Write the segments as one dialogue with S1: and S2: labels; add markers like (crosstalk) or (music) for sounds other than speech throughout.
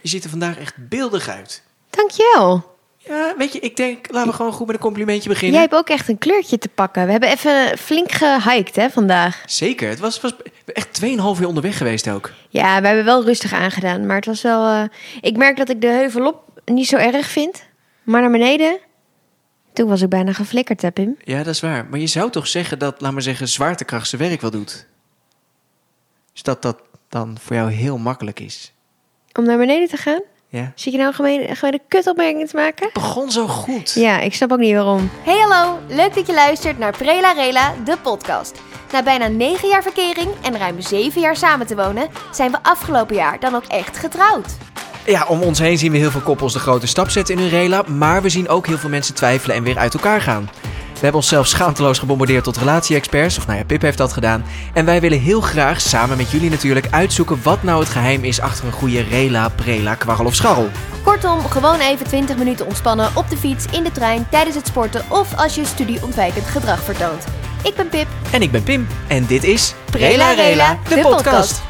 S1: Je ziet er vandaag echt beeldig uit.
S2: Dankjewel.
S1: Ja, weet je, ik denk, laten we gewoon goed met een complimentje beginnen.
S2: Jij hebt ook echt een kleurtje te pakken. We hebben even flink gehiked hè, vandaag.
S1: Zeker, het was, was echt 2,5 uur onderweg geweest ook.
S2: Ja, we hebben wel rustig aangedaan. Maar het was wel... eh, Ik merk dat ik de heuvel op niet zo erg vind. Maar naar beneden... Toen was ik bijna geflikkerd, hè Pim?
S1: Ja, dat is waar. Maar je zou toch zeggen dat, laat maar zeggen, zwaartekracht zijn werk wel doet? Dus dat dat dan voor jou heel makkelijk is.
S2: Om naar beneden te gaan?
S1: Ja?
S2: Zit je nou een gemene, gemene kutopmerking te maken?
S1: Begon zo goed.
S2: Ja, ik snap ook niet waarom.
S3: Hey hallo, leuk dat je luistert naar Prela Rela, de podcast. Na bijna 9 jaar verkering en ruim 7 jaar samen te wonen, zijn we afgelopen jaar dan ook echt getrouwd.
S1: Ja, om ons heen zien we heel veel koppels de grote stap zetten in hun rela, maar we zien ook heel veel mensen twijfelen en weer uit elkaar gaan. We hebben onszelf schaamteloos gebombardeerd tot relatie-experts, of nou ja, Pip heeft dat gedaan. En wij willen heel graag, samen met jullie natuurlijk, uitzoeken wat nou het geheim is achter een goede rela, prela, kwarrel of scharrel.
S3: Kortom, gewoon even 20 minuten ontspannen op de fiets, in de trein, tijdens het sporten of als je studieontwijkend gedrag vertoont. Ik ben Pip.
S1: En ik ben Pim en dit is
S3: Prela Rela, de podcast.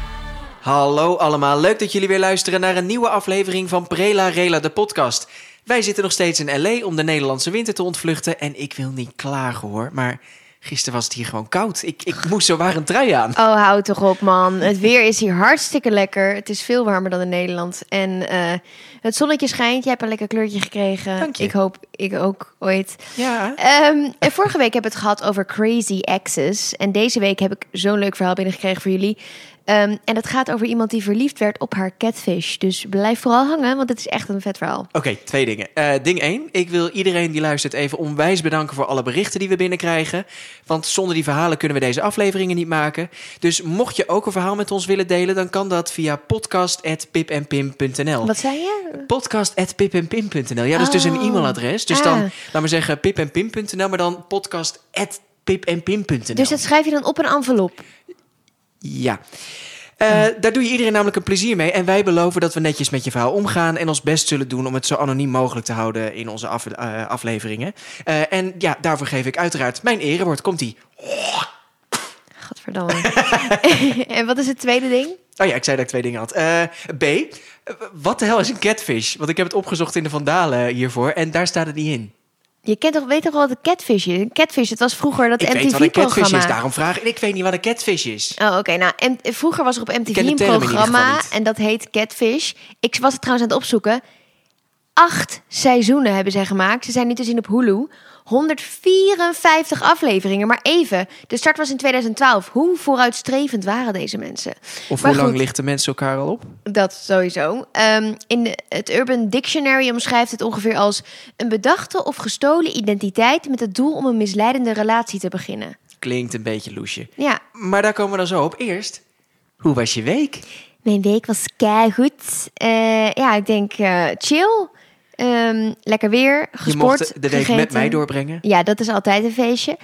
S1: Hallo allemaal, leuk dat jullie weer luisteren naar een nieuwe aflevering van Prela Rela, de podcast. Wij zitten nog steeds in L.A. om de Nederlandse winter te ontvluchten en ik wil niet klagen hoor, maar gisteren was het hier gewoon koud. Ik, ik moest zo waar een trui aan.
S2: Oh, hou toch op, man. Het weer is hier hartstikke lekker. Het is veel warmer dan in Nederland. En eh, het zonnetje schijnt. Jij hebt een lekker kleurtje gekregen.
S1: Dank je.
S2: Ik hoop ik ook ooit.
S1: Ja.
S2: Ehm, en vorige week hebben we het gehad over crazy exes. En deze week heb ik zo'n leuk verhaal binnengekregen voor jullie. Ehm, en dat gaat over iemand die verliefd werd op haar catfish. Dus blijf vooral hangen, want het is echt een vet verhaal.
S1: Oké, twee dingen. Eh, ding één, ik wil iedereen die luistert even onwijs bedanken voor alle berichten die we binnenkrijgen. Want zonder die verhalen kunnen we deze afleveringen niet maken. Dus mocht je ook een verhaal met ons willen delen, dan kan dat via podcast.pipenpim.nl.
S2: Wat zei je?
S1: Podcast.pipenpim.nl. Ja, dat is dus een
S2: Oh.
S1: e-mailadres. Dus
S2: Ah.
S1: dan, laat maar zeggen, pipenpim.nl, maar dan podcast.pipenpim.nl.
S2: Dus dat schrijf je dan op een envelop.
S1: Ja. Eh, Daar doe je iedereen namelijk een plezier mee. En wij beloven dat we netjes met je verhaal omgaan. En ons best zullen doen om het zo anoniem mogelijk te houden in onze af- eh, afleveringen. Eh, en ja, daarvoor geef ik uiteraard mijn erewoord. Komt-ie.
S2: Gadverdamme. (laughs) en wat is het tweede ding?
S1: Oh ja, ik zei dat ik twee dingen had. Eh, B. eh, Wat de hel is een catfish? Want ik heb het opgezocht in de Vandalen hiervoor. En daar staat het niet in.
S2: Je kent toch, weet toch wel wat een catfish is? Een catfish, het was vroeger dat
S1: ik weet wat een catfish is.
S2: MTV-programma.
S1: Daarom vraag ik. Ik weet niet wat een catfish is.
S2: Oh, oké. Nou, en vroeger was er op MTV
S1: ken de
S2: een
S1: term in ieder geval
S2: programma
S1: niet.
S2: en dat heet Catfish. Ik was het trouwens aan het opzoeken. Acht seizoenen hebben zij gemaakt. Ze zijn nu te zien op Hulu. 154 afleveringen, maar even. De start was in 2012. Hoe vooruitstrevend waren deze mensen?
S1: Of
S2: Maar
S1: hoe lang
S2: goed.
S1: lichten mensen elkaar al op?
S2: Dat sowieso. Ehm, in de- het Urban Dictionary omschrijft het ongeveer als een bedachte of gestolen identiteit met het doel om een misleidende relatie te beginnen.
S1: Klinkt een beetje loesje.
S2: Ja,
S1: Maar daar komen we dan zo op. Eerst, hoe was je week?
S2: mijn week was keigoed. Eh ja, ik denk eh, chill. Ehm, lekker weer,
S1: Je
S2: gesport,
S1: mocht de week met
S2: gegeten.
S1: mij doorbrengen.
S2: Ja, dat is altijd een feestje.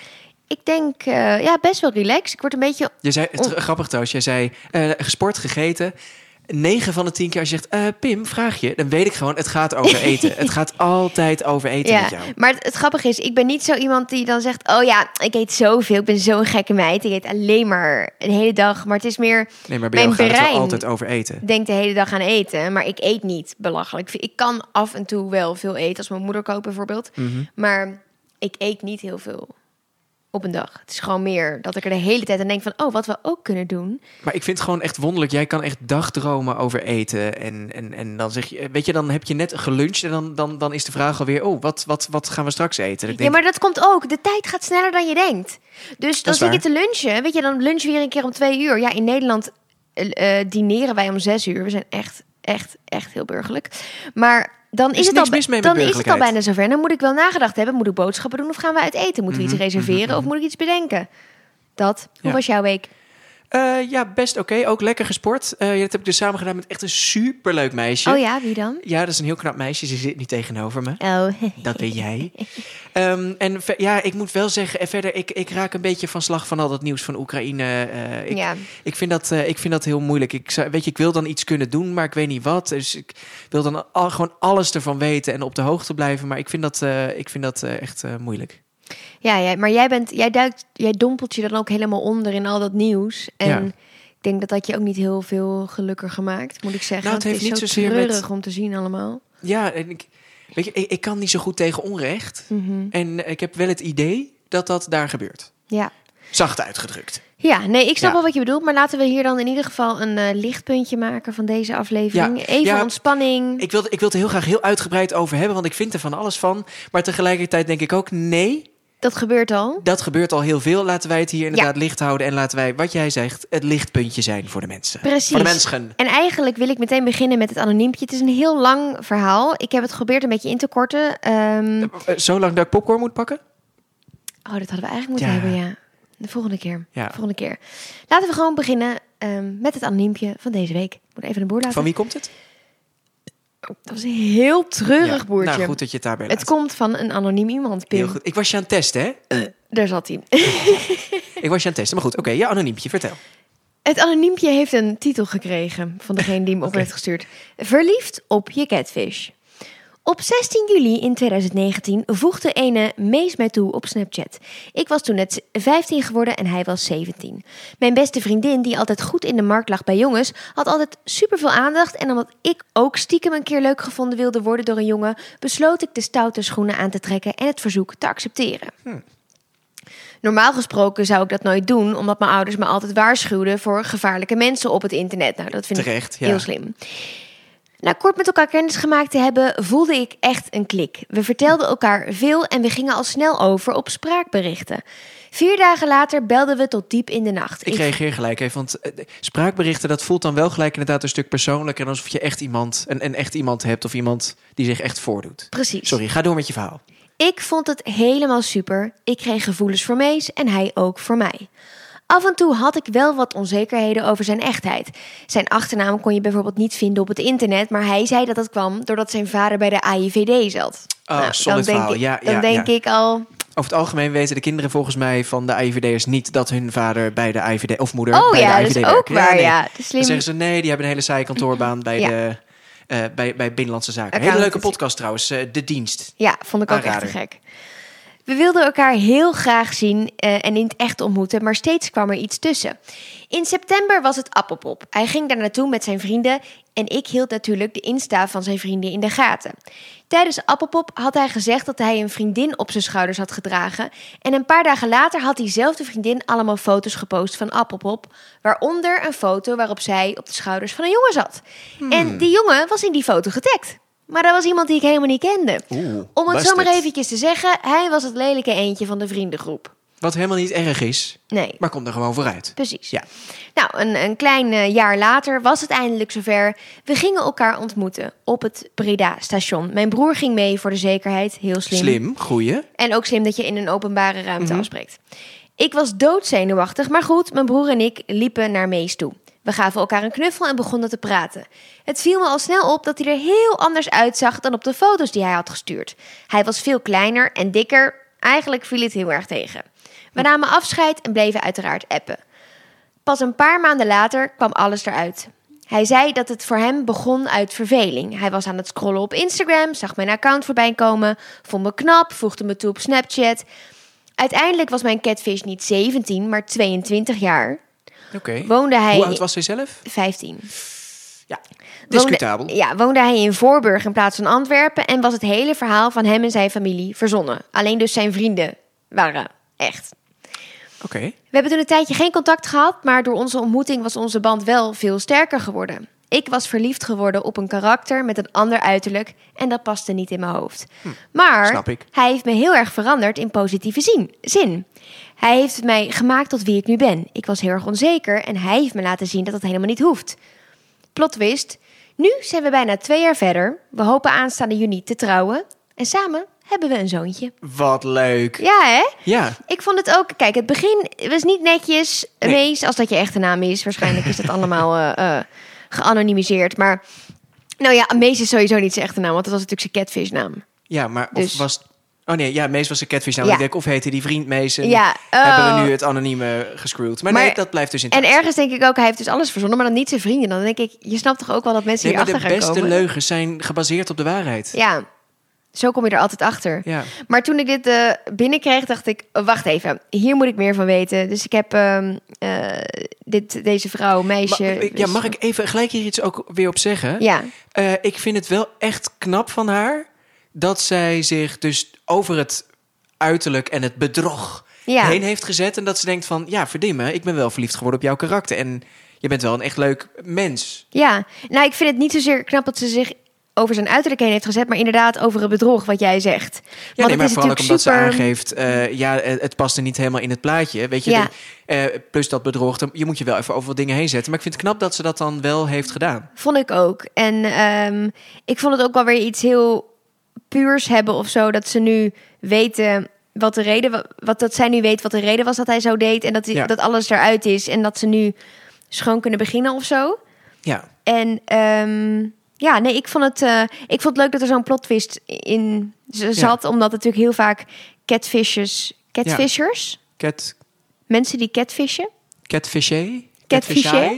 S2: Ik denk, eh, ja, best wel relaxed. Ik word een beetje...
S1: Je zei,
S2: Oh.
S1: tr- grappig trouwens, jij zei eh, gesport, gegeten. 9 van de 10 keer als je zegt, eh, Pim, vraag je. Dan weet ik gewoon, het gaat
S2: (laughs)
S1: over eten. het gaat altijd over eten
S2: Ja,
S1: met jou.
S2: maar het, het grappige is, ik ben niet zo iemand die dan zegt... oh ja, ik eet zoveel, ik ben zo'n gekke meid. Ik eet alleen maar een hele dag. Maar het is meer...
S1: Nee, maar bij jou
S2: Mijn
S1: gaat het wel
S2: brein-
S1: altijd over eten.
S2: denk de hele dag aan eten, maar ik eet niet belachelijk. Ik kan af en toe wel veel eten, als mijn moeder koopt bijvoorbeeld. Maar ik eet niet heel veel op een dag. Het is gewoon meer dat ik er de hele tijd aan denk van... oh, wat we ook kunnen doen.
S1: Maar ik vind het gewoon echt wonderlijk. Jij kan echt dagdromen over eten. En, en, en dan zeg je, eh, weet je, dan heb je net geluncht. En dan, dan, dan is de vraag alweer, oh, wat, wat, wat gaan we straks eten? Dan
S2: Ja, maar dat komt ook. De tijd gaat sneller dan je denkt. Dus dan
S1: is
S2: zit je
S1: waar.
S2: te lunchen. Weet je, dan lunchen we hier een keer om twee uur. Ja, in Nederland eh, eh, dineren wij om zes uur. We zijn echt, echt, echt heel burgerlijk. Maar dan is,
S1: is
S2: het, al,
S1: niks mis mee met
S2: dan is het al
S1: burgerlijkheid.
S2: bijna zover. Dan moet ik wel nagedacht hebben. Moet ik boodschappen doen of gaan we uit eten? Moeten we iets reserveren of moet ik iets bedenken? Dat. Hoe
S1: Mhm, Ja.
S2: was jouw week?
S1: Eh, ja, best oké. Ook lekker gesport. Eh, ja, dat heb ik dus samen gedaan met echt een superleuk meisje.
S2: Oh ja, wie dan?
S1: Ja, dat is een heel knap meisje. Ze zit nu tegenover me.
S2: Oh,
S1: Dat ben
S2: (laughs)
S1: jij. Ehm, en ver- ja, ik moet wel zeggen, eh, verder, ik, ik raak een beetje van slag van al dat nieuws van Oekraïne. Eh, ik,
S2: ja.
S1: ik, vind dat, eh, ik vind dat heel moeilijk. Ik, zou- weet je, ik wil dan iets kunnen doen, maar ik weet niet wat. Dus ik wil dan al, gewoon alles ervan weten en op de hoogte blijven. Maar ik vind dat, eh, ik vind dat eh, echt eh, moeilijk.
S2: Ja, ja, maar jij bent, jij duikt, jij dompelt je dan ook helemaal onder in al dat nieuws. En Ik denk dat dat je ook niet heel veel gelukkiger maakt, moet ik zeggen.
S1: Nou, het
S2: Want
S1: heeft
S2: is
S1: niet
S2: zo
S1: zozeer met-
S2: treurig om te zien allemaal.
S1: Ja, en ik, weet je, ik, ik kan niet zo goed tegen onrecht.
S2: Mhm.
S1: En ik heb wel het idee dat dat daar gebeurt.
S2: Ja.
S1: Zacht uitgedrukt.
S2: Ja, nee, ik snap
S1: Ja.
S2: wel wat je bedoelt. Maar laten we hier dan in ieder geval een eh, lichtpuntje maken van deze aflevering.
S1: Ja,
S2: Even
S1: ja.
S2: ontspanning.
S1: Ik wil, ik wil het er heel graag heel uitgebreid over hebben, want ik vind er van alles van. Maar tegelijkertijd denk ik ook, nee,
S2: Dat gebeurt al.
S1: dat gebeurt al heel veel. Laten wij het hier inderdaad licht houden en laten wij, wat jij zegt, het lichtpuntje zijn voor de mensen.
S2: Precies.
S1: Voor de mensen.
S2: En eigenlijk wil ik meteen beginnen met het anoniempje. Het is een heel lang verhaal. Ik heb het geprobeerd een beetje in te korten. Ehm,
S1: Eh, Zolang dat ik popcorn moet pakken?
S2: Oh, dat hadden we eigenlijk moeten
S1: Ja.
S2: hebben, ja. De volgende keer.
S1: Ja.
S2: De volgende keer. Laten we gewoon beginnen ehm, met het anoniempje van deze week. Ik moet even een boer laten.
S1: Van wie komt het?
S2: Dat was een heel treurig
S1: Ja.
S2: boertje.
S1: Nou, goed dat je het daarbij laat.
S2: het komt van een anoniem iemand, Pim.
S1: Heel goed. Ik was je aan het testen, hè?
S2: Daar zat hij.
S1: Ik was je aan het testen. Maar goed, oké, ja, anoniempje, vertel.
S2: Het anoniempje heeft een titel gekregen van degene die hem op
S1: (laughs) Oké.
S2: heeft gestuurd. Verliefd op je catfish. Op 16 juli in 2019 voegde ene Mees mij toe op Snapchat. Ik was toen net 15 geworden en hij was 17. Mijn beste vriendin, die altijd goed in de markt lag bij jongens, had altijd superveel aandacht. En omdat ik ook stiekem een keer leuk gevonden wilde worden door een jongen, besloot ik de stoute schoenen aan te trekken en het verzoek te accepteren.
S1: Hm.
S2: Normaal gesproken zou ik dat nooit doen, omdat mijn ouders me altijd waarschuwden voor gevaarlijke mensen op het internet. Nou, dat vind
S1: Terecht,
S2: ik
S1: ja.
S2: heel slim. Na kort met elkaar kennis gemaakt te hebben, voelde ik echt een klik. We vertelden elkaar veel en we gingen al snel over op spraakberichten. Vier dagen later belden we tot diep in de nacht.
S1: Ik reageer gelijk even, want eh, spraakberichten, dat voelt dan wel gelijk inderdaad een stuk persoonlijker. Alsof je echt iemand, een, een echt iemand hebt of iemand die zich echt voordoet.
S2: Precies.
S1: Sorry, ga door met je verhaal.
S2: Ik vond het helemaal super. Ik kreeg gevoelens voor Mees en hij ook voor mij. Af en toe had ik wel wat onzekerheden over zijn echtheid. Zijn achternaam kon je bijvoorbeeld niet vinden op het internet, maar hij zei dat dat kwam doordat zijn vader bij de AIVD zat. Nou,
S1: Oh, solid
S2: dan denk,
S1: verhaal.
S2: ik,
S1: Ja,
S2: dan
S1: ja,
S2: denk
S1: ja.
S2: ik al.
S1: Over het algemeen weten de kinderen volgens mij van de IVD'ers niet dat hun vader bij de IVD of moeder
S2: Oh
S1: bij
S2: ja,
S1: de
S2: dat
S1: IVD
S2: is
S1: werkt.
S2: ook waar.
S1: nee.
S2: Ja, De
S1: Dan
S2: slim.
S1: zeggen ze nee, die hebben een hele saaie kantoorbaan bij,
S2: (laughs) Ja.
S1: de, eh, bij, bij Binnenlandse Zaken. Hele
S2: Accountancy.
S1: leuke podcast trouwens, eh, De Dienst.
S2: Ja, vond ik ook echt
S1: Aanrader.
S2: te gek. We wilden elkaar heel graag zien eh, en in het echt ontmoeten, maar steeds kwam er iets tussen. In september was het Appelpop. Hij ging daar naartoe met zijn vrienden en ik hield natuurlijk de Insta van zijn vrienden in de gaten. Tijdens Appelpop had hij gezegd dat hij een vriendin op zijn schouders had gedragen en een paar dagen later had diezelfde vriendin allemaal foto's gepost van Appelpop, waaronder een foto waarop zij op de schouders van een jongen zat. En die jongen was in die foto getagd. Maar dat was iemand die ik helemaal niet kende.
S1: Oeh,
S2: Om het
S1: busted.
S2: zomaar eventjes te zeggen, hij was het lelijke eentje van de vriendengroep.
S1: Wat helemaal niet erg is,
S2: Nee,
S1: maar kom er gewoon vooruit.
S2: precies.
S1: Ja.
S2: Nou, een, een klein eh, jaar later was het eindelijk zover. We gingen elkaar ontmoeten op het Breda-station. Mijn broer ging mee voor de zekerheid, heel slim.
S1: Slim, goeie.
S2: En ook slim dat je in een openbare ruimte afspreekt. Ik was doodzenuwachtig, maar goed, mijn broer en ik liepen naar Mees toe. We gaven elkaar een knuffel en begonnen te praten. Het viel me al snel op dat hij er heel anders uitzag dan op de foto's die hij had gestuurd. Hij was veel kleiner en dikker. Eigenlijk viel het heel erg tegen. We namen afscheid en bleven uiteraard appen. Pas een paar maanden later kwam alles eruit. Hij zei dat het voor hem begon uit verveling. Hij was aan het scrollen op Instagram, zag mijn account voorbij komen, vond me knap, voegde me toe op Snapchat. Uiteindelijk was mijn catfish niet 17, maar 22 jaar.
S1: Oké.
S2: Woonde hij
S1: Hoe oud was hij zelf?
S2: 15.
S1: Ja,
S2: Woonde-
S1: discutabel.
S2: ja, woonde hij in Voorburg in plaats van Antwerpen en was het hele verhaal van hem en zijn familie verzonnen. Alleen dus zijn vrienden waren echt.
S1: Oké.
S2: We hebben toen een tijdje geen contact gehad, maar door onze ontmoeting was onze band wel veel sterker geworden. Ik was verliefd geworden op een karakter met een ander uiterlijk en dat paste niet in mijn hoofd. maar
S1: Hm, snap ik.
S2: hij heeft me heel erg veranderd in positieve zin, zin. Hij heeft mij gemaakt tot wie ik nu ben. Ik was heel erg onzeker en hij heeft me laten zien dat dat helemaal niet hoeft. Plot twist. Nu zijn we bijna twee jaar verder. We hopen aanstaande juni te trouwen. En samen hebben we een zoontje.
S1: Wat leuk.
S2: Ja, hè?
S1: Ja,
S2: Ik vond het ook, kijk, het begin was niet netjes.
S1: Nee.
S2: Mees, als dat je echte naam is, waarschijnlijk is dat
S1: (laughs)
S2: allemaal eh, eh, geanonimiseerd. Maar nou ja, Mees is sowieso niet zijn echte naam, want dat was natuurlijk zijn catfishnaam.
S1: ja maar
S2: Dus-
S1: of was... Oh nee, ja, Mees was een catfish. Nou,
S2: Ja.
S1: ik denk, of heette die vriend Mees? en
S2: Ja,
S1: Hebben we
S2: oh.
S1: nu het anonieme gescrewd? Maar,
S2: Maar-
S1: nee, dat blijft dus in
S2: En ergens denk ik ook, hij heeft dus alles verzonnen, maar dan niet zijn vrienden. Dan denk ik, je snapt toch ook wel dat mensen
S1: Nee, maar
S2: hierachter
S1: de
S2: gaan
S1: beste
S2: komen?
S1: leugens zijn gebaseerd op de waarheid.
S2: Ja, Zo kom je er altijd achter.
S1: Ja.
S2: Maar toen ik dit eh, binnenkreeg, dacht ik, oh, wacht even, hier moet ik meer van weten. Dus ik heb ehm, eh, dit, deze vrouw, meisje.
S1: Ma- ja,
S2: dus-
S1: mag ik even gelijk hier iets ook weer op zeggen?
S2: Ja,
S1: Eh, ik vind het wel echt knap van haar dat zij zich dus over het uiterlijk en het bedrog
S2: ja.
S1: heen heeft gezet. En dat ze denkt van, ja, verdien me, ik ben wel verliefd geworden op jouw karakter. En je bent wel een echt leuk mens.
S2: Ja, nou, ik vind het niet zozeer knap dat ze zich over zijn uiterlijk heen heeft gezet, maar inderdaad over het bedrog wat jij zegt.
S1: Ja, nee,
S2: het
S1: maar
S2: is
S1: vooral ook omdat
S2: natuurlijk
S1: ze
S2: super-
S1: aangeeft, eh, ja, eh, het past er niet helemaal in het plaatje. Weet je,
S2: Ja.
S1: de- eh, plus dat bedrog, dan- je moet je wel even over wat dingen heen zetten. Maar ik vind het knap dat ze dat dan wel heeft gedaan.
S2: Vond ik ook. En ehm, ik vond het ook wel weer iets heel puurs hebben of zo. Dat ze nu weten wat de reden wa- wat dat zij nu weet wat de reden was dat hij zo deed. En dat, die-
S1: Ja.
S2: dat alles eruit is. En dat ze nu schoon kunnen beginnen of zo.
S1: Ja,
S2: En ehm, ja, nee, ik vond, het, eh, ik vond het leuk dat er zo'n plot twist in z- zat. Omdat het natuurlijk heel vaak catfishers... Catfishers?
S1: cat,
S2: Mensen die catfishen?
S1: catfisher?
S2: Catfisher?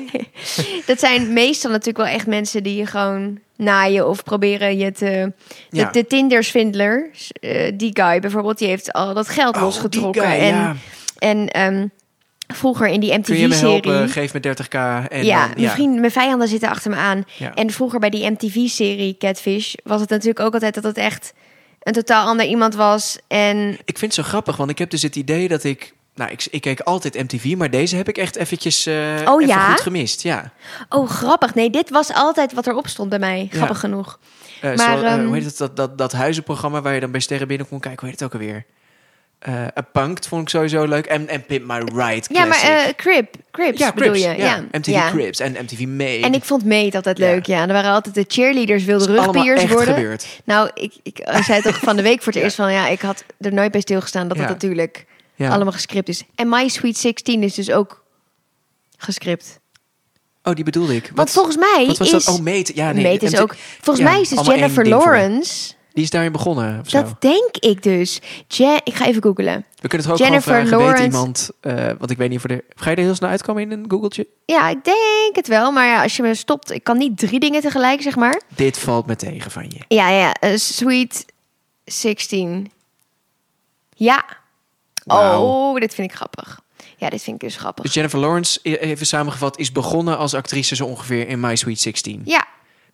S2: dat
S1: (laughs)
S2: zijn meestal natuurlijk wel echt mensen die je gewoon naaien of proberen je te... De,
S1: Ja.
S2: de Tinder-svindler, eh, die guy bijvoorbeeld, die heeft al dat geld
S1: Oh,
S2: losgetrokken.
S1: die guy,
S2: en
S1: ja.
S2: en ehm, vroeger in die
S1: Kun je me helpen?
S2: MTV-serie...
S1: Geef me 30k. En
S2: Ja,
S1: dan-
S2: mijn vriend, mijn vijanden zitten achter me aan.
S1: Ja.
S2: En vroeger bij die MTV-serie Catfish was het natuurlijk ook altijd dat het echt een totaal ander iemand was. En
S1: Ik vind het zo grappig, want ik heb dus het idee dat ik... Nou, ik, ik keek altijd MTV, maar deze heb ik echt eventjes eh, even
S2: Oh ja?
S1: goed gemist. Ja.
S2: oh, grappig. Nee, dit was altijd wat erop stond bij mij.
S1: Ja.
S2: Grappig genoeg.
S1: Eh,
S2: Maar,
S1: zo, eh,
S2: ehm,
S1: hoe heet het, dat, dat, dat huizenprogramma waar je dan bij sterren binnen kon kijken. Hoe heet het ook alweer? Eh A Punked vond ik sowieso leuk. En, en Pimp My Ride,
S2: Ja, maar
S1: classic.
S2: eh Crip, Crips
S1: ja,
S2: bedoel
S1: Crips,
S2: je?
S1: Ja. MTV Crips en MTV Made.
S2: En ik vond Meet altijd
S1: Ja.
S2: leuk, ja. Er waren altijd de cheerleaders, wilden
S1: Dat is allemaal
S2: rugbiers
S1: echt
S2: worden.
S1: gebeurd.
S2: Nou, ik, ik eh,
S1: (laughs)
S2: zei toch van de week voor het eerst van... ja, ik had er nooit bij stilgestaan dat het
S1: Ja.
S2: natuurlijk
S1: Ja.
S2: allemaal gescript is. En My Sweet 16 is dus ook gescript.
S1: Oh, die bedoelde ik.
S2: Want volgens mij
S1: wat was
S2: is...
S1: dat? Oh, Made. Ja, nee.
S2: Meet is
S1: MTV
S2: ook... Volgens
S1: ja,
S2: mij is dus
S1: allemaal één
S2: Jennifer
S1: ding voor me.
S2: Lawrence...
S1: Die is daarin begonnen of zo.
S2: Dat denk ik dus. Je, ik ga even googlen.
S1: We kunnen het ook gewoon
S2: Jennifer
S1: vragen.
S2: Lawrence.
S1: Weet iemand... eh, want ik weet niet of we er... Ga je er heel snel uitkomen in een googeltje?
S2: Ja, ik denk het wel. Maar ja, als je me stopt... Ik kan niet drie dingen tegelijk, zeg maar.
S1: Dit valt me tegen van je.
S2: Ja, ja, eh, Sweet 16. Ja.
S1: Wauw.
S2: Oh, dit vind ik grappig. Ja, dit vind ik dus grappig.
S1: Dus Jennifer Lawrence, e- even samengevat, is begonnen als actrice zo ongeveer in My Sweet 16.
S2: Ja,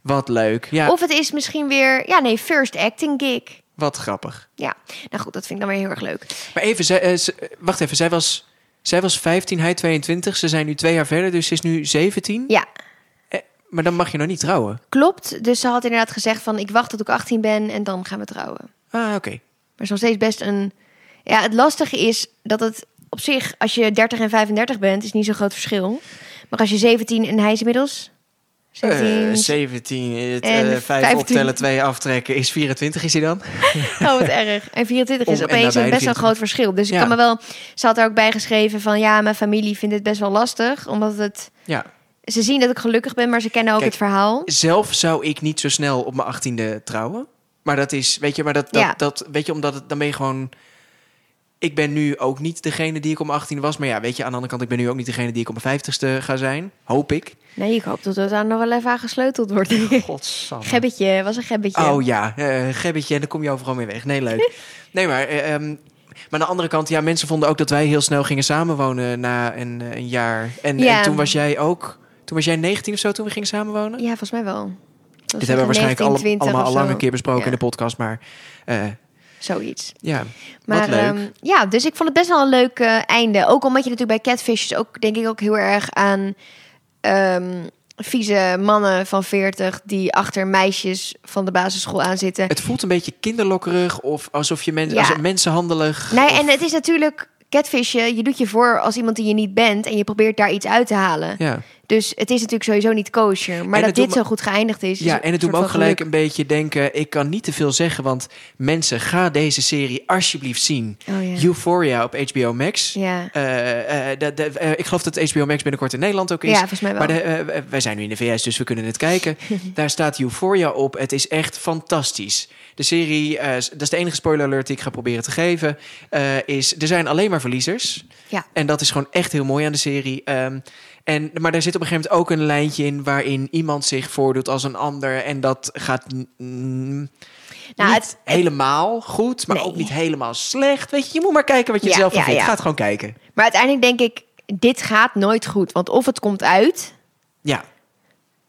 S1: Wat leuk. Ja,
S2: of het is misschien weer... Ja, nee, first acting gig.
S1: wat grappig.
S2: Ja, nou goed, dat vind ik dan weer heel erg leuk.
S1: Maar even, zij, eh, ze- eh, wacht even. Zij was, zij was 15, hij 22. Ze zijn nu twee jaar verder, dus ze is nu 17.
S2: Ja,
S1: Maar dan mag je nog niet trouwen.
S2: klopt. Dus ze had inderdaad gezegd van... ik wacht tot ik 18 ben en dan gaan we trouwen.
S1: Ah, oké.
S2: Maar het is nog steeds best een... Ja, het lastige is dat het op zich... als je 30 en 35 bent, is niet zo'n groot verschil. Maar als je 17 en hij is inmiddels...
S1: Eh,
S2: 17,
S1: 17, het,
S2: En eh, vijf 15. optellen,
S1: 2 aftrekken is 24 is hij dan?
S2: (laughs) Oh, wat erg. En 24 is
S1: Om en
S2: opeens
S1: nabij
S2: een
S1: de
S2: best wel
S1: 24.
S2: groot verschil. Dus ik
S1: Ja.
S2: kan me wel... Ze had er ook bij geschreven van... Ja, mijn familie vindt het best wel lastig. Omdat het...
S1: Ja.
S2: Ze zien dat ik gelukkig ben, maar ze kennen ook
S1: Kijk,
S2: het verhaal.
S1: Zelf zou ik niet zo snel op mijn achttiende trouwen. Maar dat is, weet je, maar dat, dat,
S2: Ja.
S1: dat weet je, omdat het, dan ben je gewoon... Ik ben nu ook niet degene die ik om 18 was. Maar ja, weet je, aan de andere kant, ik ben nu ook niet degene die ik op mijn 50ste ga zijn. Hoop ik.
S2: Nee, ik hoop dat het daar nog wel even aan gesleuteld wordt.
S1: Godsamme.
S2: (laughs) gebbetje, was een gebbetje.
S1: Oh ja, eh gebbetje en dan kom je overal mee weg. Nee,
S2: (laughs)
S1: leuk. nee, maar, eh, ehm, maar aan de andere kant, ja, mensen vonden ook dat wij heel snel gingen samenwonen na een, eh, een jaar. En,
S2: Ja.
S1: en toen was jij ook, toen was jij 19 of zo toen we gingen samenwonen?
S2: Ja, volgens mij wel. Dat
S1: Dit hebben we waarschijnlijk alle- allemaal al lang een keer besproken
S2: Ja.
S1: in de podcast, maar eh,
S2: Zoiets.
S1: ja,
S2: Maar
S1: wat leuk.
S2: ehm, ja, dus ik vond het best wel een leuk eh, einde. Ook omdat je natuurlijk bij Catfishes ook denk ik ook heel erg aan ehm, vieze mannen van 40 die achter meisjes van de basisschool aan zitten.
S1: het voelt een beetje kinderlokkerig of alsof je mensen,
S2: Ja.
S1: als mensenhandelig.
S2: Nee,
S1: of-
S2: en het is natuurlijk catfishen. Je doet je voor als iemand die je niet bent en je probeert daar iets uit te halen.
S1: ja.
S2: Dus het is natuurlijk sowieso niet kosher. Maar
S1: En
S2: dat
S1: het doet
S2: dit
S1: me-
S2: zo goed geëindigd is. is
S1: Ja, en
S2: een
S1: het doet me
S2: soort
S1: ook
S2: van
S1: gelijk
S2: geluk.
S1: een beetje denken. Ik kan niet te veel zeggen, want mensen, ga deze serie alsjeblieft zien.
S2: Oh, ja.
S1: Euphoria op HBO Max.
S2: Ja.
S1: Eh, eh, de- de- eh, ik geloof dat HBO Max binnenkort in Nederland ook is.
S2: Ja, volgens mij wel.
S1: Maar de, eh, wij zijn nu in de VS, dus we kunnen het
S2: (laughs)
S1: kijken. Daar staat Euphoria op. Het is echt fantastisch. De serie, eh, s- dat is de enige spoiler alert die ik ga proberen te geven, eh, is er zijn alleen maar verliezers.
S2: Ja.
S1: En dat is gewoon echt heel mooi aan de serie. Ehm, En, maar daar zit op een gegeven moment ook een lijntje in waarin iemand zich voordoet als een ander. En dat gaat n- n-
S2: Nou,
S1: niet
S2: het-
S1: helemaal goed, maar
S2: Nee.
S1: ook niet helemaal slecht. Weet je, je moet maar kijken wat je
S2: Ja,
S1: er zelf van
S2: ja,
S1: vindt.
S2: ja.
S1: Ga het gewoon kijken.
S2: Maar uiteindelijk denk ik, dit gaat nooit goed. Want of het komt uit,
S1: Ja.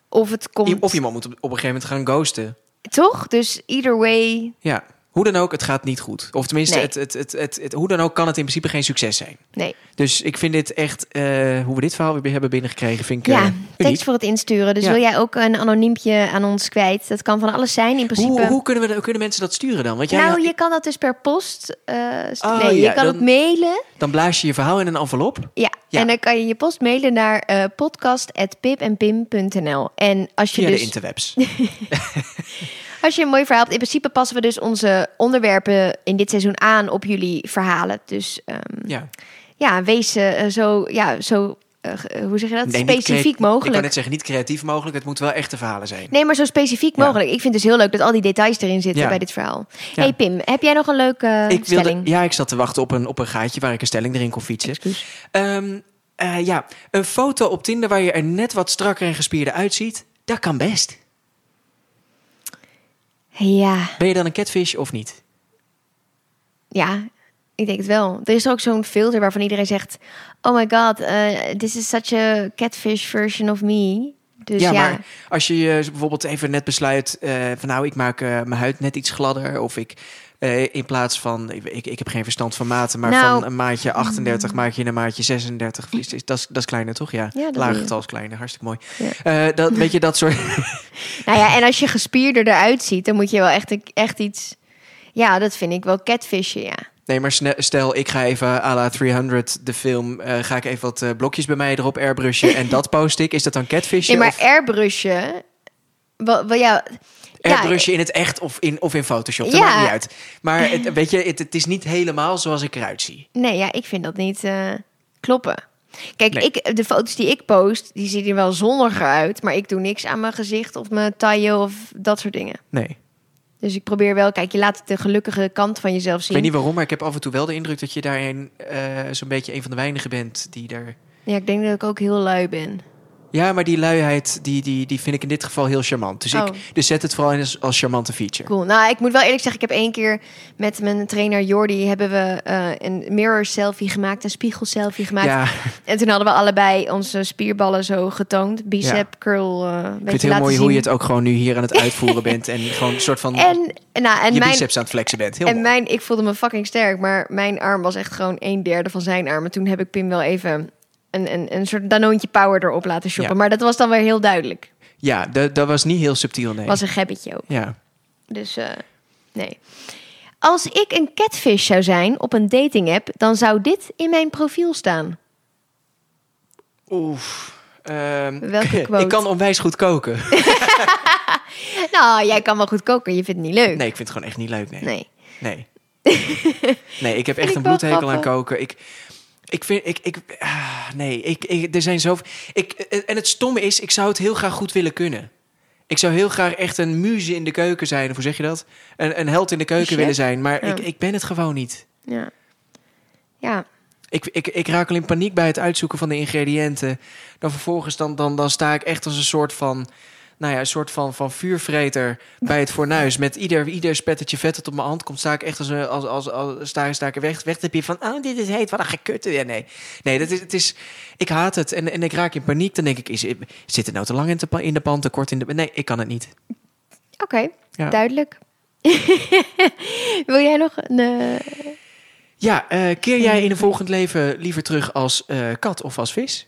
S2: of het
S1: I-
S2: komt...
S1: Of iemand moet op op een gegeven moment gaan ghosten.
S2: Toch? Dus either way...
S1: Ja. Hoe dan ook, het gaat niet goed. Of tenminste,
S2: Nee.
S1: het, het, het, het, het- hoe dan ook kan het in principe geen succes zijn.
S2: Nee.
S1: Dus ik vind dit echt, eh, hoe we dit verhaal weer hebben binnengekregen, vind ik eh,
S2: Ja,
S1: uniek.
S2: tekst voor het insturen. Dus
S1: Ja.
S2: wil jij ook een anoniempje aan ons kwijt? Dat kan van alles zijn in principe.
S1: Hoe, hoe, kunnen we, hoe kunnen mensen dat sturen dan? Want jij,
S2: nou, je kan dat dus per post. eh, st-
S1: Oh,
S2: nee,
S1: ja,
S2: je kan
S1: dan-
S2: het mailen.
S1: dan blaas je je verhaal in een envelop.
S2: Ja.
S1: Ja.
S2: en dan kan je je post mailen naar eh podcast.pipenpim.nl. En als je,
S1: Via de
S2: dus,
S1: interwebs.
S2: als je een mooi verhaal hebt, in principe passen we dus onze onderwerpen in dit seizoen aan op jullie verhalen. Dus ehm, ja.
S1: ja.
S2: wees eh, zo, ja, zo eh, ge- eh, hoe zeg je dat?
S1: Nee, niet crea-
S2: specifiek
S1: Ik kan
S2: mogelijk.
S1: net zeggen, niet creatief mogelijk. Het moet wel echte verhalen zijn.
S2: Nee, maar zo specifiek
S1: Ja.
S2: mogelijk. Ik vind dus heel leuk dat al die details erin zitten
S1: Ja.
S2: bij dit verhaal.
S1: Ja.
S2: hey Pim, heb jij nog een leuke eh,
S1: ik wilde,
S2: stelling?
S1: ja, ik zat te wachten op een, op een gaatje waar ik een stelling erin kon fietsen.
S2: Excuus.
S1: Ehm, eh, ja, een foto op Tinder waar je er net wat strakker en gespierder uitziet, dat kan best.
S2: Ja,
S1: Ben je dan een catfish of niet?
S2: ja, ik denk het wel. Er is er ook zo'n filter waarvan iedereen zegt... Oh my god, eh, this is such a catfish version of me. Dus ja,
S1: ja, maar als je eh, bijvoorbeeld even net besluit eh, van nou, ik maak eh, mijn huid net iets gladder of ik eh, in plaats van, ik, ik, ik heb geen verstand van maten, maar
S2: Nou.
S1: van een maatje 38 maak je een maatje 36. Is- is- Dat is- dat is kleiner toch? Ja,
S2: Ja, dat
S1: lager
S2: doe je.
S1: getal is kleiner, hartstikke mooi. Eh, dat,
S2: (laughs)
S1: weet je, dat soort...
S2: Nou ja, en als je gespierder eruit ziet... dan moet je wel echt, echt iets... Ja, dat vind ik wel catfishen, ja.
S1: Nee, maar sne- stel, ik ga even à la 300, de film, eh, ga ik even wat eh, blokjes bij mij erop airbrushen en dat post ik. Is dat dan catfishje?
S2: Nee, maar
S1: of
S2: airbrushen... Wel, wel, ja,
S1: airbrushen in het echt of in, of in Photoshop? Dat
S2: Ja.
S1: maakt niet uit. Maar
S2: (laughs)
S1: het, weet je, het, het is niet helemaal zoals ik eruit zie.
S2: Nee, ja, ik vind dat niet eh, kloppen. Kijk,
S1: Nee.
S2: ik, de foto's die ik post, die zien er wel zonniger uit. Maar ik doe niks aan mijn gezicht of mijn taille of dat soort dingen.
S1: Nee.
S2: Dus ik probeer wel, kijk, je laat de gelukkige kant van jezelf
S1: Ik
S2: zien.
S1: weet niet waarom, maar ik heb af en toe wel de indruk dat je daarin eh, zo'n beetje een van de weinigen bent die daar...
S2: Ja, ik denk dat ik ook heel lui ben.
S1: Ja, maar die luiheid, die, die, die vind ik in dit geval heel charmant. Dus,
S2: Oh.
S1: ik, dus zet het vooral in als, als charmante feature.
S2: Cool. Nou, ik moet wel eerlijk zeggen, ik heb één keer met mijn trainer Jordi... hebben we eh, een mirror selfie gemaakt, een spiegel selfie gemaakt.
S1: Ja,
S2: En toen hadden we allebij onze spierballen zo getoond. Bicep, curl, eh een
S1: ik vind het
S2: beetje
S1: heel
S2: laten
S1: mooi
S2: zien.
S1: hoe je het ook gewoon nu hier aan
S2: (laughs)
S1: het uitvoeren bent. En gewoon een soort van...
S2: En, nou, en
S1: je
S2: mijn,
S1: biceps aan het flexen bent. Heel
S2: en mijn, ik voelde me fucking sterk, maar mijn arm was echt gewoon een derde van zijn arm. En toen heb ik Pim wel even een, een, een soort danoontje power erop laten shoppen.
S1: Ja.
S2: Maar dat was dan weer heel duidelijk.
S1: Ja, dat, dat was niet heel subtiel, nee.
S2: Was een gebbetje ook.
S1: Ja.
S2: Dus eh, nee. Als ik een catfish zou zijn op een dating app, dan zou dit in mijn profiel staan.
S1: Oef. Ehm,
S2: Welke
S1: (laughs)
S2: quote?
S1: Ik kan onwijs goed koken.
S2: Nou, jij kan wel goed koken, je vindt het niet leuk.
S1: Nee, ik vind het gewoon echt niet leuk, nee.
S2: Nee. (laughs)
S1: Nee, nee ik heb echt
S2: ik
S1: een
S2: wel
S1: bloedhekel aan
S2: grappig.
S1: koken. Ik, ik vind... Ik, ik, ah, nee, ik, ik, er zijn zoveel... Ik, en het stomme is, ik zou het heel graag goed willen kunnen. Ik zou heel graag echt een muze in de keuken zijn. Of hoe zeg je dat? Een, een held in de keuken
S2: Chef?
S1: willen zijn. Maar
S2: Ja.
S1: ik, ik ben het gewoon niet.
S2: Ja. Ja.
S1: Ik, ik, ik raak al in paniek bij het uitzoeken van de ingrediënten. Dan vervolgens dan, dan, dan sta ik echt als een soort van... Nou ja, een soort van, van vuurvreter bij het fornuis. Met ieder, ieder spettertje vet dat op mijn hand komt, sta ik echt als een. Als, als, als, sta, sta ik er weg, weg te piepen van. Oh, dit is heet, wat een gekutte. Ja, nee. Nee, dat is, het is. Ik haat het. En, en ik raak in paniek. Dan denk ik, is, zit het nou te lang in de, pa- in de pan, te kort in de. Nee, ik kan het niet.
S2: Oké,
S1: Ja.
S2: duidelijk. (laughs) Wil jij nog een... eh,
S1: Ja, eh, keer jij in een volgend leven liever terug als eh, kat of als vis?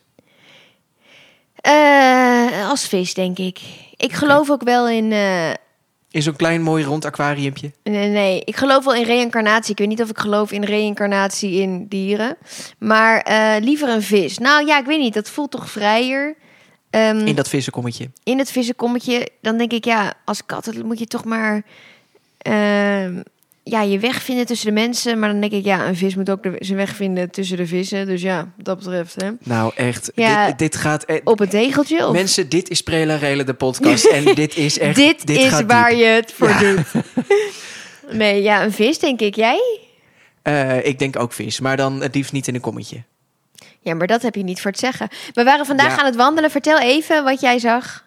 S2: Eh, als vis, denk ik. Ik geloof ook wel in. eh,
S1: In zo'n klein mooi rond aquariumpje.
S2: nee, nee, ik geloof wel in reïncarnatie. Ik weet niet of ik geloof in reïncarnatie in dieren. Maar eh, liever een vis. Nou ja, ik weet niet. Dat voelt toch vrijer. Ehm,
S1: In dat vissenkommetje.
S2: in het vissenkommetje, dan denk ik ja, als kat dan moet je toch maar ehm, ja, je weg vinden tussen de mensen. Maar dan denk ik ja, een vis moet ook de- zijn weg vinden tussen de vissen. Dus ja, wat dat betreft. Hè.
S1: Nou, echt.
S2: Ja.
S1: Dit, dit gaat. eh,
S2: Op het tegeltje of
S1: Mensen, dit is Prela Rela, de podcast.
S2: (laughs)
S1: en dit is echt.
S2: dit, is
S1: gaat
S2: waar
S1: diep.
S2: je het voor
S1: Ja. (laughs)
S2: doet. Nee, ja, een vis denk ik. Jij?
S1: Eh, ik denk ook vis, maar dan het liefst niet in een kommetje.
S2: Ja, maar dat heb je niet voor het zeggen. We waren vandaag
S1: Ja.
S2: aan het wandelen. Vertel even wat jij zag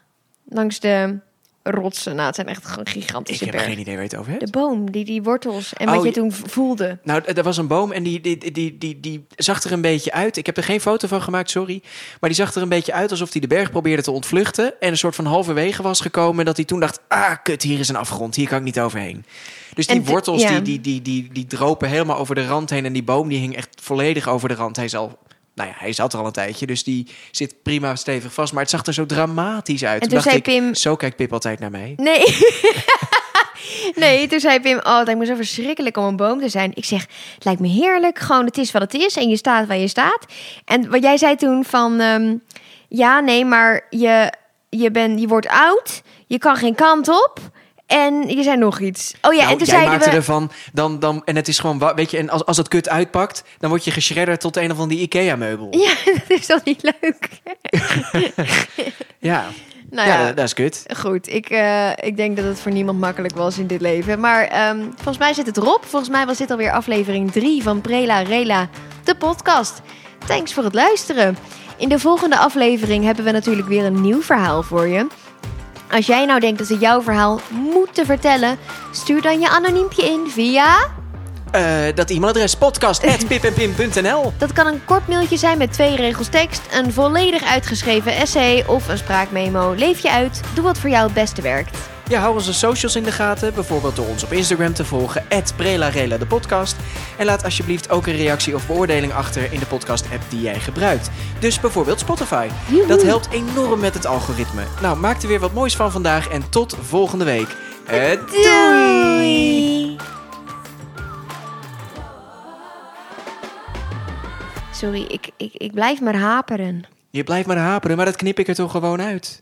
S2: langs de rotsen. Nou, het zijn echt gewoon
S1: Ik
S2: gigantische
S1: heb
S2: bergen.
S1: geen idee waar je het over hebt.
S2: De boom, die, die wortels en
S1: Oh,
S2: wat je
S1: je-
S2: toen v- voelde.
S1: Nou, d- er was een boom en die, die, die, die, die, die zag er een beetje uit. Ik heb er geen foto van gemaakt, sorry. Maar die zag er een beetje uit alsof hij de berg probeerde te ontvluchten. En een soort van halverwege was gekomen. en Dat hij toen dacht, ah, kut, hier is een afgrond. Hier kan ik niet overheen. Dus die
S2: En te-
S1: wortels,
S2: ja.
S1: die, die, die, die, die dropen helemaal over de rand heen. En die boom, die hing echt volledig over de rand. Hij zal... Nou ja, hij zat er al een tijdje, dus die zit prima stevig vast. Maar het zag er zo dramatisch uit.
S2: En toen
S1: dacht
S2: zei
S1: ik,
S2: Pim-
S1: Zo kijkt Pip altijd naar mij.
S2: Nee. (laughs) nee, toen zei Pim, oh, het lijkt me zo verschrikkelijk om een boom te zijn. Ik zeg, het lijkt me heerlijk, gewoon het is wat het is en je staat waar je staat. En wat jij zei toen van, ehm, ja, nee, maar je, je, ben, je wordt oud, je kan geen kant op en je zei nog iets. Oh ja,
S1: Nou,
S2: en
S1: jij
S2: toen zeiden
S1: maakte
S2: we... (laughs)
S1: ervan, dan, dan, en het is gewoon, wa- weet je, en als, als het kut uitpakt, dan word je geschredderd tot een of andere IKEA-meubel. Ja,
S2: Ja, dat is toch niet leuk? nou
S1: Ja,
S2: ja,
S1: dat, dat is kut.
S2: goed. Ik, eh, ik denk dat het voor niemand makkelijk was in dit leven. Maar ehm, volgens mij zit het erop. Volgens mij was dit alweer aflevering 3 van Prela Rela, de podcast. Thanks voor het luisteren. In de volgende aflevering hebben we natuurlijk weer een nieuw verhaal voor je. Als jij nou denkt dat we jouw verhaal moeten vertellen, stuur dan je anoniempje in via...
S1: Eh, dat e-mailadres
S2: (laughs)
S1: podcast.pipenpim.nl
S2: Dat kan een kort mailtje zijn met twee regels tekst, een volledig uitgeschreven essay of een spraakmemo. Leef je uit, doe wat voor jou het beste werkt.
S1: Ja, hou onze socials in de gaten, bijvoorbeeld door ons op Instagram te volgen, prelarela de podcast. En laat alsjeblieft ook een reactie of beoordeling achter in de podcast-app die jij gebruikt. Dus bijvoorbeeld Spotify. Dat helpt enorm met het algoritme. Nou, maak er weer wat moois van vandaag en tot volgende week. Eh,
S2: Doei! Sorry, ik, ik, ik blijf maar haperen.
S1: Je blijft maar haperen, maar dat knip ik er toch gewoon uit.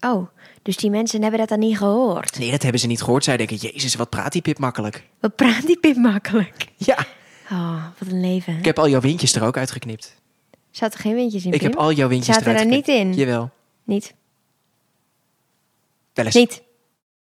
S2: Oh, dus die mensen hebben dat dan niet gehoord.
S1: Nee, dat hebben ze niet gehoord. Zij denken, jezus, wat praat die Pip makkelijk.
S2: Wat praat die Pim makkelijk.
S1: Ja.
S2: Oh, wat een leven.
S1: Ik heb al jouw windjes er ook uitgeknipt.
S2: Zaten geen windjes in,
S1: Ik
S2: Pim?
S1: heb al jouw windjes
S2: Zaten er
S1: eruit
S2: niet
S1: geknipt.
S2: in?
S1: Jawel.
S2: Niet.
S1: Wel eens.
S2: Niet.